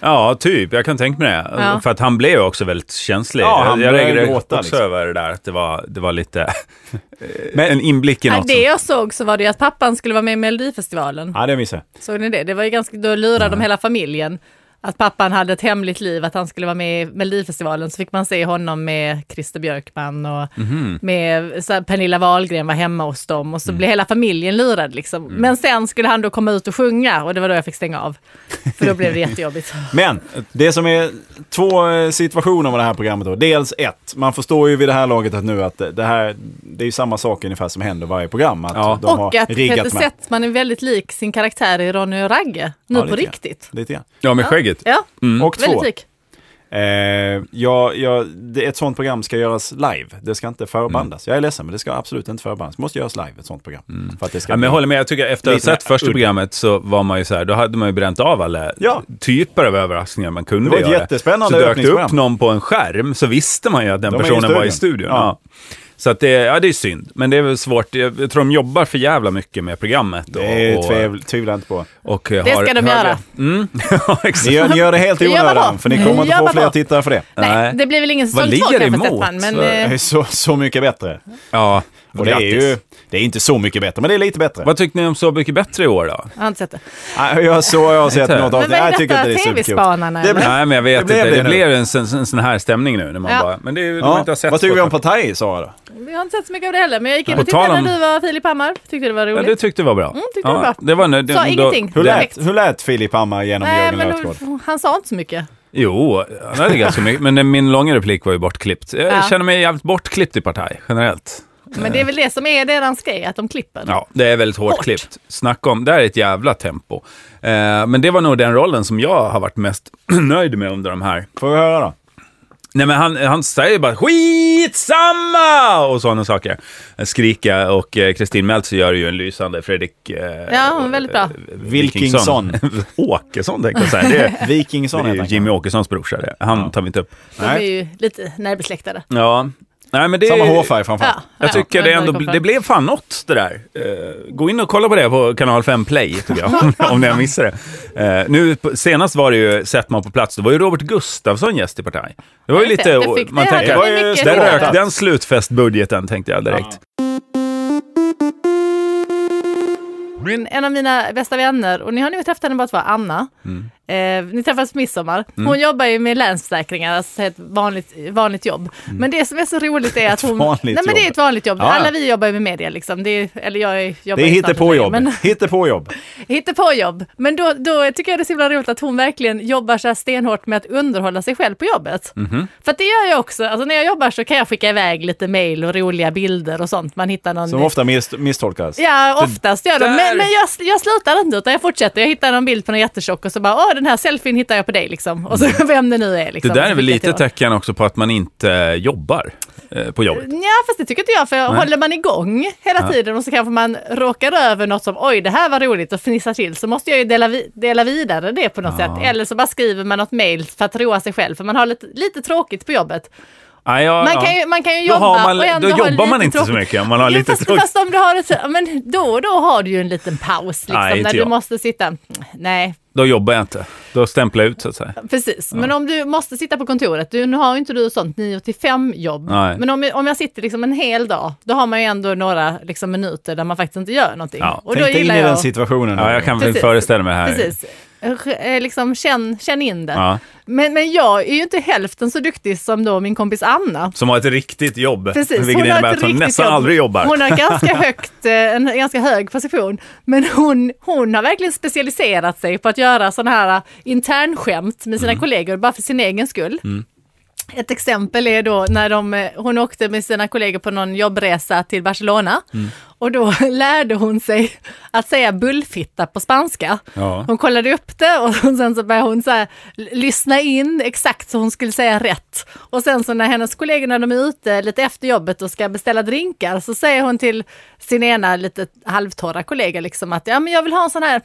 Ja, typ. Jag kan tänka mig det. Ja. För att han blev också väldigt känslig. Ja, han jag började reagerade gråta, också liksom. över det där, att det var, det var lite... [LAUGHS] Men- Men, en inblick i Nej, något det jag såg så var det ju att pappan skulle vara med i Melodifestivalen. Ja, det missade jag. Såg ni det? Det var ju ganska, då lurade de hela familjen. Att pappan hade ett hemligt liv, att han skulle vara med i Melodifestivalen. Så fick man se honom med Christer Björkman och Mhm. med så här, Pernilla Wahlgren var hemma hos dem. Och Mm. så blev hela familjen lurad liksom. Men sen skulle han då komma ut och sjunga och det var då jag fick stänga av. För [LAUGHS] då blev det jättejobbigt. Men det som är två eh, situationer med det här programmet då. Dels ett, man förstår ju vid det här laget att nu att det det här, det är ju samma sak ungefär som händer varje program. Att Ja. de Och har att riggat Peter med. Settman är väldigt lik sin karaktär i Ronny och Ragge. Nu Ja, på lite grann. riktigt. Lite grann. Ja, med skägget. Ja, Mm. Och två, väldigt lik. eh, jag, jag, det, ett sånt program ska göras live. Det ska inte förbandas. Mm. Jag är ledsen, men det ska absolut inte förbandas. Det måste göras live, ett sånt program. För att det ska Ja, men bli- jag håller med, jag tycker efter att Lite ha sett mer första udda. programmet så var man ju så här, då hade man ju bränt av alla Ja. typer av överraskningar man kunde Det var ett göra. jättespännande Så dök det öppningsprogram. upp någon på en skärm så visste man ju att den De är i personen var i studion. studion. Ja. Ja. Så att det, ja, det är synd, men det är väl svårt. Jag jag tror de jobbar för jävla mycket med programmet. Och, Det och- tvev- tvivlar jag inte [LAUGHS] på. och har Det ska de högre- göra. Mm. [LAUGHS] ja, Ni exakt. gör, ni gör det helt i Det gör man onödan, bra. för ni kommer inte Det gör få man fler bra. tittare för det. Nej, Nej. det blir väl ingen Vad säsong två ligger det kanske emot? Stefan. Men, Så- Det är eh, så, så mycket bättre. Ja, Och det är grattis. ju, det är inte så mycket bättre, men det är lite bättre. Vad tyckte ni om Så mycket bättre i [LAUGHS] år då? jag har inte sett det. Nej, jag så jag har sett Men något av vad är det. Jag detta? tycker inte det är superkul. TV-spanarna, Det blev- eller? Nej, men jag vet Det blev inte. det Det, nu. blev en, sån- en sån här stämning nu när man Ja. bara... Men det är ju de Ja. inte har sett Vad tycker vi om på... Partaj, Sara? då? Jag har inte sett så mycket av det heller, men jag gick in På och tittade tal om- när du var Filip Hammar. Tyckte det var Ja, roligt. det tyckte jag var bra. Mm, tyckte jag var bra. Det var nu, Sa då- ingenting. Hur lät, Direkt. hur lät Filip Hammar genom Nej, Jörgen men Lötgård? han sa inte så mycket. Jo, han hade ganska mycket. Men min långa replik var ju bortklippt. Jag Ja. känner mig jävligt bortklippt i partaj, generellt. Men det är väl det som är deras grej, att de klipper. Ja, det är väldigt hårt, Hårt. klippt. Snacka om, det här är ett jävla tempo. Eh, men det var nog den rollen som jag har varit mest [CLEARS THROAT] nöjd med under de här. Får vi höra då? Nej, men han, han säger bara skitsamma och sådana saker. Skrika och eh, Kristin Meltzer gör ju en lysande Fredrik... Eh, Ja, hon är väldigt bra. Wilkingsson. [LAUGHS] Åkesson tänkte jag säga. [LAUGHS] Det, det Vikingsson är heter ju han. Jimmy Åkessons brorsa det. Han tar vi inte upp. De är ju lite närbesläktade. Ja. Nej, men det, Samma hårfärg framförallt. Ja, Jag ja, tycker men det, när ändå, kom fram. det blev fan något det där. Eh, gå in och kolla på det på kanal 5 Play, tycker [LAUGHS] jag, om ni har missat det. Eh, nu, på- senast var det ju, sett man på plats, det var ju Robert Gustafsson gäst i partaj. Det var ju Jag vet lite, inte, jag fick man det här. tänker, Det var ju- mycket där det roligare. var- rök den slutfestbudgeten, tänkte jag direkt. En av mina bästa vänner, och ni har nog träffat henne bara två, Anna. Mm. Eh, ni träffades på midsommar. Hon jobbar ju med länsförsäkringar, alltså ett vanligt, vanligt jobb. Men det som är så roligt är [LAUGHS] att hon... Mm. vanligt nej men det är jobb. ett vanligt jobb. Ja, ja. Alla vi jobbar ju med media liksom. Det är, eller jag är- jobbar Det är ju snart med media, hittepåjobb. Men, [LAUGHS] Hittepåjobb. hittepåjobb. Men då, då tycker jag det är så himla roligt att hon verkligen jobbar så här stenhårt med att underhålla sig själv på jobbet. Mhm. För att det gör jag också. Alltså när jag jobbar så kan jag skicka iväg lite mejl och roliga bilder och sånt. Man hittar någon... Som ofta mis- misstolkas. Ja, oftast gör de. där- Men, men jag, jag slutar inte utan jag fortsätter. Jag hittar någon bild på någon jättetjock och så bara, åh den här selfien hittar jag på dig liksom. Och så [LAUGHS] vem det nu är Mm. Det liksom. där är väl Så skickar lite jag till tecken också på att man inte jobbar eh, på jobbet. honom. Ja, fast det tycker inte jag, för håller man igång hela tiden och så kanske man råkar över något som oj, det här var roligt och fnissar till så måste jag ju dela, vi- dela vidare det på något sätt. Eller så bara skriver man något mail för att roa sig själv, för man har lite, lite tråkigt på jobbet. Ja, Ah, ja, Man ja. kan ju, man kan ju då jobba har man, och ändå då ha jobbar man lite inte så tråkigt. mycket om man har Jo, lite fast, tråkigt. fast om du har ett, ja, men då och då har du ju en liten paus liksom, Nej, inte när du jag. måste sitta. Nej, Då jobbar jag inte. Då stämplar jag ut så att säga. precis. Men om du måste sitta på kontoret, du, nu har ju inte du sånt 9 till 5 jobb. Nej. Men om, om jag sitter liksom en hel dag, då har man ju ändå några liksom, minuter där man faktiskt inte gör någonting. Ja, och då Tänk dig in gillar i den jag, situationen. Ja, jag kan väl Precis. föreställa mig här. precis, Eh, liksom, känn, känn in det. Ja. Men, men jag är ju inte hälften så duktig som då min kompis Anna. Som har ett riktigt jobb. Precis, vilket innebär att hon riktigt nästan jobb. aldrig jobbar. [LAUGHS] Hon har ganska högt, eh, en ganska hög position. Men hon, hon har verkligen specialiserat sig på att göra sådana här eh, internskämt med sina Mm. kollegor bara för sin egen skull. Ett exempel är då när de, eh, hon åkte med sina kollegor på någon jobbresa till Barcelona. Och då [LAUGHS] lärde hon sig att säga bullfitta på spanska. Ja. Hon kollade upp det och [LAUGHS] sen så började hon så här, l- lyssna in exakt så hon skulle säga rätt. Och sen så när hennes kollegor när de är ute lite efter jobbet och ska beställa drinkar så säger hon till sin ena lite halvtorra kollega liksom att ja men jag vill ha en sån här,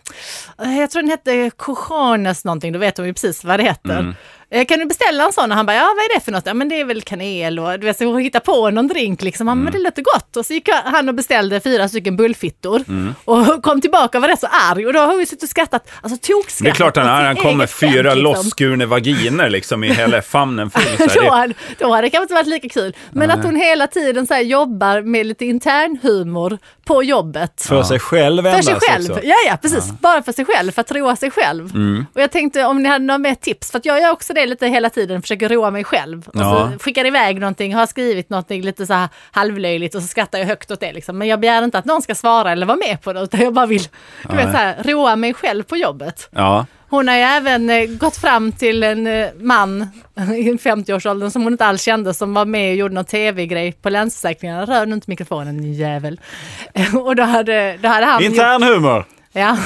eh, jag tror den hette cojones någonting, då vet hon ju precis vad det heter. Eh, Kan du beställa en sån? Och han bara, ja vad är det för något? Ja men det är väl kanel och du vet, så hon hittar på någon drink liksom. Han, Mm. men det låter gott. Och så gick han och beställde fyra stycken bullfittor. Mm. Och [LAUGHS] kom tillbaka och var rätt så arg. Och då har vi suttit och skrattat, alltså tokskrattat. Det är klart han åt är. sin Han kommer eget skämt, fyra liksom. losskurna vaginer [LAUGHS] liksom i hela famnen full. Så Då här, hade, då hade det kanske inte varit lika kul. Men att hon hela tiden så här jobbar med lite intern humor på jobbet. För sig själv För endast sig själv. också. Ja, ja, precis. Bara för sig själv, för att roa sig själv. Och jag tänkte om ni hade några mer tips, för att jag gör också det lite hela tiden, försöker roa mig själv. Och Ja. så skickar iväg någonting, har skrivit någonting lite så här halvlöjligt och så skrattar jag högt åt det. Liksom. Men jag begär inte att någon ska svara eller vara med på det, utan jag bara vill du vet, så här, roa mig själv på jobbet. ja. Hon har ju även eh, gått fram till en eh, man [LAUGHS] i 50-årsåldern som hon inte alls kände som var med och gjorde någon tv-grej på Länsförsäkringarna. Rör nu inte mikrofonen din jävel. [LAUGHS] Och då hade, då hade han... gjort- Intern humor! Ja,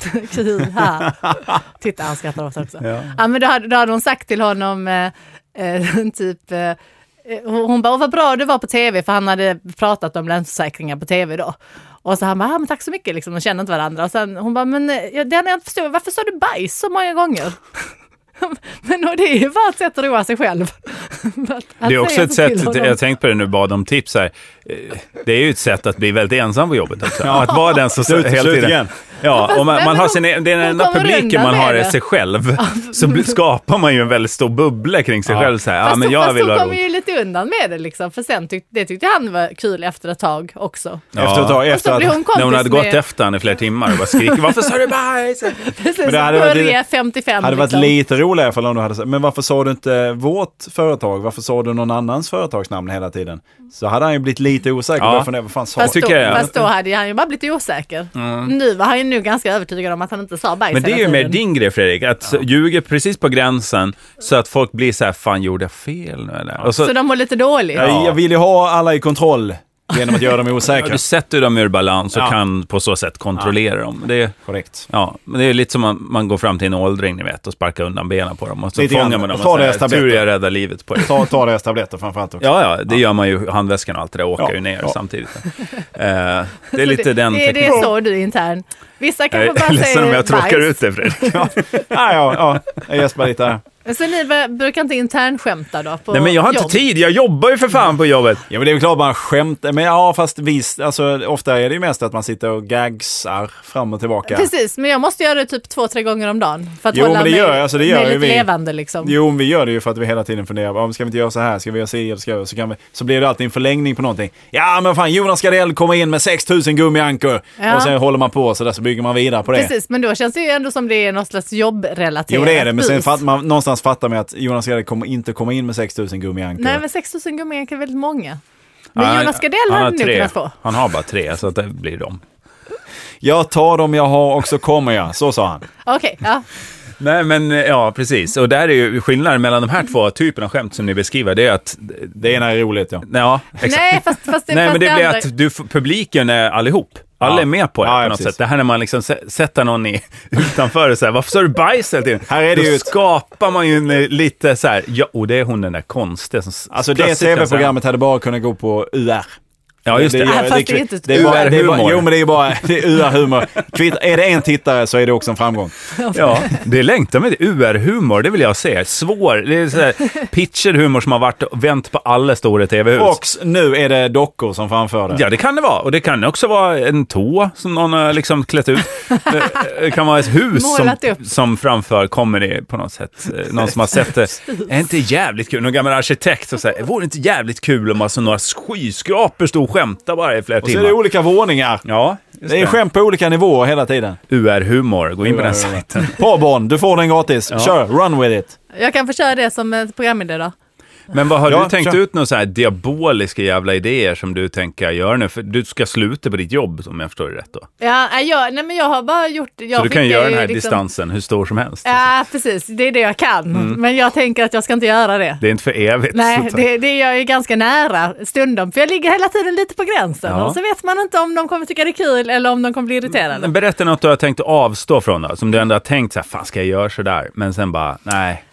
[LAUGHS] kul. [LAUGHS] Här. Titta, han skrattar åt oss också. Ja. men då, hade, då hade hon sagt till honom, eh, eh, [LAUGHS] typ, eh, eh, hon hon bara, "Åh, vad bra du var på tv, för han hade pratat om länsförsäkringar på tv då. Och så han bara, "Ah, men tack så mycket, liksom, de känner inte varandra. Och sen hon bara, men eh, ja, det enda jag inte förstår, varför sa du bajs så många gånger? [LAUGHS] men och det är ju bara ett sätt att roa sig själv. [LAUGHS] Att- att Det är också säga ett så sätt, till honom. jag har tänkt på det nu, bad om tips här. Eh, Det är ju ett sätt att bli väldigt ensam på [LAUGHS] jobbet också. Att vara den som Slut- hela slut tiden... igen. Ja, Fast och man, vem man har är sin, e- den de enda kommer publiken undan man med har är det? sig själv. Så bli- skapar man ju en väldigt stor bubbla kring sig själv. Så här, ja, Fast, men jag fast vill hon vara kom rolig. ju lite undan med det liksom, för sen tyck, det tyckte han var kul efter ett tag också. Efter ett tag, Och så efter blev hon att... kompis När hon hade med, gått efter honom i flera timmar och bara skriker varför sa du bajs? Precis, Men det hade det hade varit Börje lite- 55. hade varit liksom. lite roligare ifall du hade sagt, men varför sa du inte vårt företag? Varför sa du någon annans företagsnamn hela tiden? Så hade han ju blivit lite osäker. Ja. Ja. Funderat, vad fan sa Fast du? då, tycker jag. fast då hade han ju bara blivit osäker. Nu var han ju nu ganska övertygad om att han inte sa bajs Men det är hela ju mer tiden. din grej Fredrik, att ljuga precis på gränsen så att folk blir så här, fan gjorde jag fel nu eller? Och så, Så de mår lite dåligt. Jag- Jag vill ju ha alla i kontroll genom att göra [LAUGHS] dem osäkra. du sätter dem ur balans och Ja. kan på så sätt kontrollera dem. Det är, Korrekt. ja, men det är lite som man, man går fram till en åldring ni vet och sparkar undan benen på dem och så Lite fångar grann. man dem och Ta säger, deras tabletter. tur jag räddar livet på er. Ta, ta deras tabletter framförallt också. Ja, ja, det gör man ju, handväskan och allt det där åker Ja, ju ner ja. [LAUGHS] samtidigt. Eh, det är lite det, den det, det tekniken. är så du är intern. Vissa Jag kanske bara är ledsen om säger jag tråkar bajs. ut dig [LAUGHS] Fredrik. Ja, ja, ja. Jag gäspar lite här. Så ni b- brukar inte internskämta då? På Nej men jag har inte jobb? tid, jag jobbar ju för fan på jobbet. Ja men det är väl klart man skämtar, men ja fast visst, alltså ofta är det ju mest att man sitter och gagsar fram och tillbaka. Precis, men jag måste göra det typ två, tre gånger om dagen. För att Jo, hålla men det mig, gör jag, alltså det gör mig ju lite vi. levande liksom. Jo, men vi gör det ju för att vi hela tiden funderar, om ska vi inte göra så här, ska vi göra si eller ska vi, göra så, kan vi, så blir det alltid en förlängning på någonting. Ja men fan, Jonas Gardell kommer in med 6000 gummiankor! Ja. Och sen håller man på sådär så bygger man vidare på det. Precis, men då känns det ju ändå som det är något slags jobbrelaterat. Jo det är det, men sen bus. fatt, man, någonstans fattar man att Jonas Gardell kommer inte komma in med 6000 gummiankor. Nej, men 6000 gummor är väldigt många. Men Ja, Jonas Gardell han hade har nog tre. kunnat få. Han har bara tre, så att det blir de. Jag tar dem jag har och så kommer jag, så sa han. Okej, ja. Nej, men eh, ja, precis. Och där är ju skillnaden mellan de här två typerna av skämt som ni beskriver, det är att... Det ena är roligt ja. Ja, exakt. Nej, fast, fast det, Nej, fast men det blir andra- att du, publiken är allihop. Alla Ja. är med på det Ja, ja, på något precis. sätt. Det här när man liksom sä- sätter någon i, [LAUGHS] utanför och säger varför sa du bajs hela tiden? Här är det Då ju ett- skapar man ju en, eh, lite så här, ja, och det är hon den där konstiga som s- Alltså det plötsligt kan säga- tv-programmet hade bara kunnat gå på UR. Ja, just det. Ja, fast det är inte- det är bara, det är bara, UR-humor. Jo, men det är bara det är UR-humor. Kvitt- Är det en tittare så är det också en framgång. Ja, det längtar med det. UR-humor, det vill jag se. Svår, det är sådär [LAUGHS] pitcher-humor som har varit och vänt på alla stora tv-hus. Och s- nu är det dockor som framför det. Ja, det kan det vara. Och det kan också vara en tå som någon har liksom [LAUGHS] klätt ut. Det kan vara ett hus som, Målat upp. som framför comedy på något sätt. Eh, Någon som har sett det. Är inte jävligt kul? Någon gammal arkitekt som säger, vore det inte jävligt kul om alltså några skyskrapor stod och skämtade bara i flera Och så är timmar? det olika våningar. Ja, just Det är skämt på olika nivåer hela tiden. UR-humor. Gå in på den sajten. Parborn, du får den gratis. Kör, run with it. Jag kan få köra det som ett programidé då. Men vad har Ja, du tänkt kör. ut några så här diaboliska jävla idéer som du tänker göra nu? För du ska sluta på ditt jobb om jag förstår det rätt då. Ja, nej, jag, nej, men jag har bara gjort... Jag Så du skickar kan göra ju den här liksom- distansen hur stor som helst. Ja, precis. Det är det jag kan. Men jag tänker att jag ska inte göra det. Mm. Det är inte för evigt. Nej, Så- det, det är jag ju ganska nära stundom. För jag ligger hela tiden lite på gränsen. Ja. Och så vet man inte om de kommer tycka det är kul eller om de kommer bli irriterade. Men Berätta något du har tänkt att avstå från då, som du ändå har tänkt så här, fan ska jag göra sådär? Men sen bara, nej.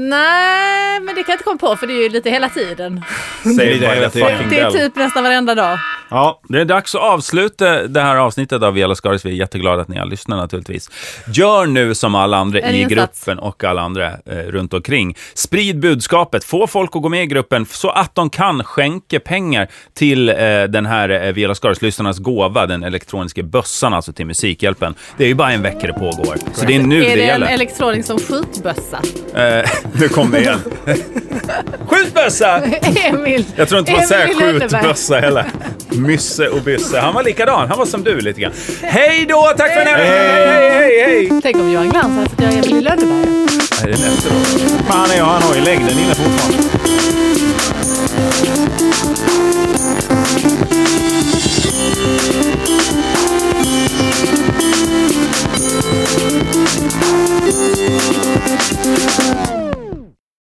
Nej, men det kan jag inte komma på för det är ju lite hela tiden. Säg det hela tiden. Det är typ nästan varenda dag. Ja, Det är dags att avsluta det här avsnittet av Via Los Garis. Vi är jätteglada att ni har lyssnat naturligtvis. Gör nu som alla andra En i insats. gruppen och alla andra eh, runt omkring. Sprid budskapet, få folk att gå med i gruppen så att de kan skänka pengar till eh, den här eh, Via Los Garis-lyssnarnas gåva, den elektroniska bössan, alltså till Musikhjälpen. Det är ju bara en vecka det pågår, så det är nu det, är det en gäller. elektronik som skjutbössa? [LAUGHS] Eh, nu kom det igen. [LAUGHS] Skjutbössa! Emil! Jag tror inte man säger Emil Lönneberg. skjutbössa heller. Mysse och bysse. Han var likadan. Han var som du lite grann. Hej då! Tack för den här veckan! Hej, hej, hej, hej! Tänk om Johan Glans hade fått göra Emil i Lönneberga. Nej, det är nästa låt. fan är jag, han har ju längden inne fortfarande.